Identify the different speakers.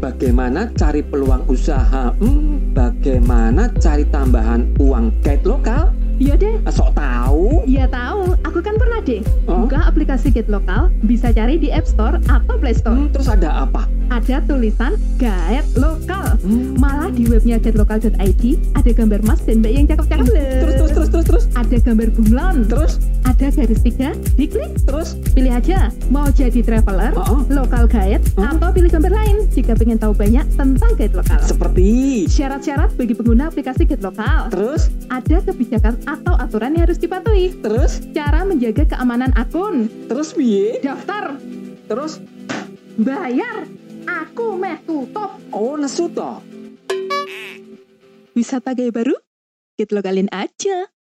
Speaker 1: bagaimana cari peluang usaha, hmm, bagaimana cari tambahan uang guide lokal,
Speaker 2: Iya deh,
Speaker 1: sok tahu.
Speaker 2: iya tahu. Aku kan pernah deh
Speaker 1: Oh.
Speaker 2: buka aplikasi Gate Lokal, bisa cari di App Store atau Play Store.
Speaker 1: Hmm, terus ada apa?
Speaker 2: Ada tulisan Gaet Lokal.
Speaker 1: Hmm,
Speaker 2: Malah di webnya gaetlokal.id ada gambar mas dan mbak yang cakep-cakep.
Speaker 1: Hmm. terus terus terus terus terus
Speaker 2: Ada gambar bunglon,
Speaker 1: terus
Speaker 2: ada garis tiga, diklik.
Speaker 1: terus.
Speaker 2: Pilih aja, mau jadi traveler,
Speaker 1: Oh, oh.
Speaker 2: lokal guide,
Speaker 1: Oh.
Speaker 2: atau pilih gambar lain jika pengen tahu banyak tentang guide lokal.
Speaker 1: Seperti
Speaker 2: Syarat-syarat bagi pengguna aplikasi guide lokal.
Speaker 1: terus
Speaker 2: Ada kebijakan atau aturan yang harus dipatuhi.
Speaker 1: terus
Speaker 2: Cara menjaga keamanan akun.
Speaker 1: terus piye?
Speaker 2: Daftar,
Speaker 1: Terus
Speaker 2: bayar, aku meh tutup.
Speaker 1: oh nesu toh.
Speaker 2: Wisata gaya baru? Gate lokalin aja.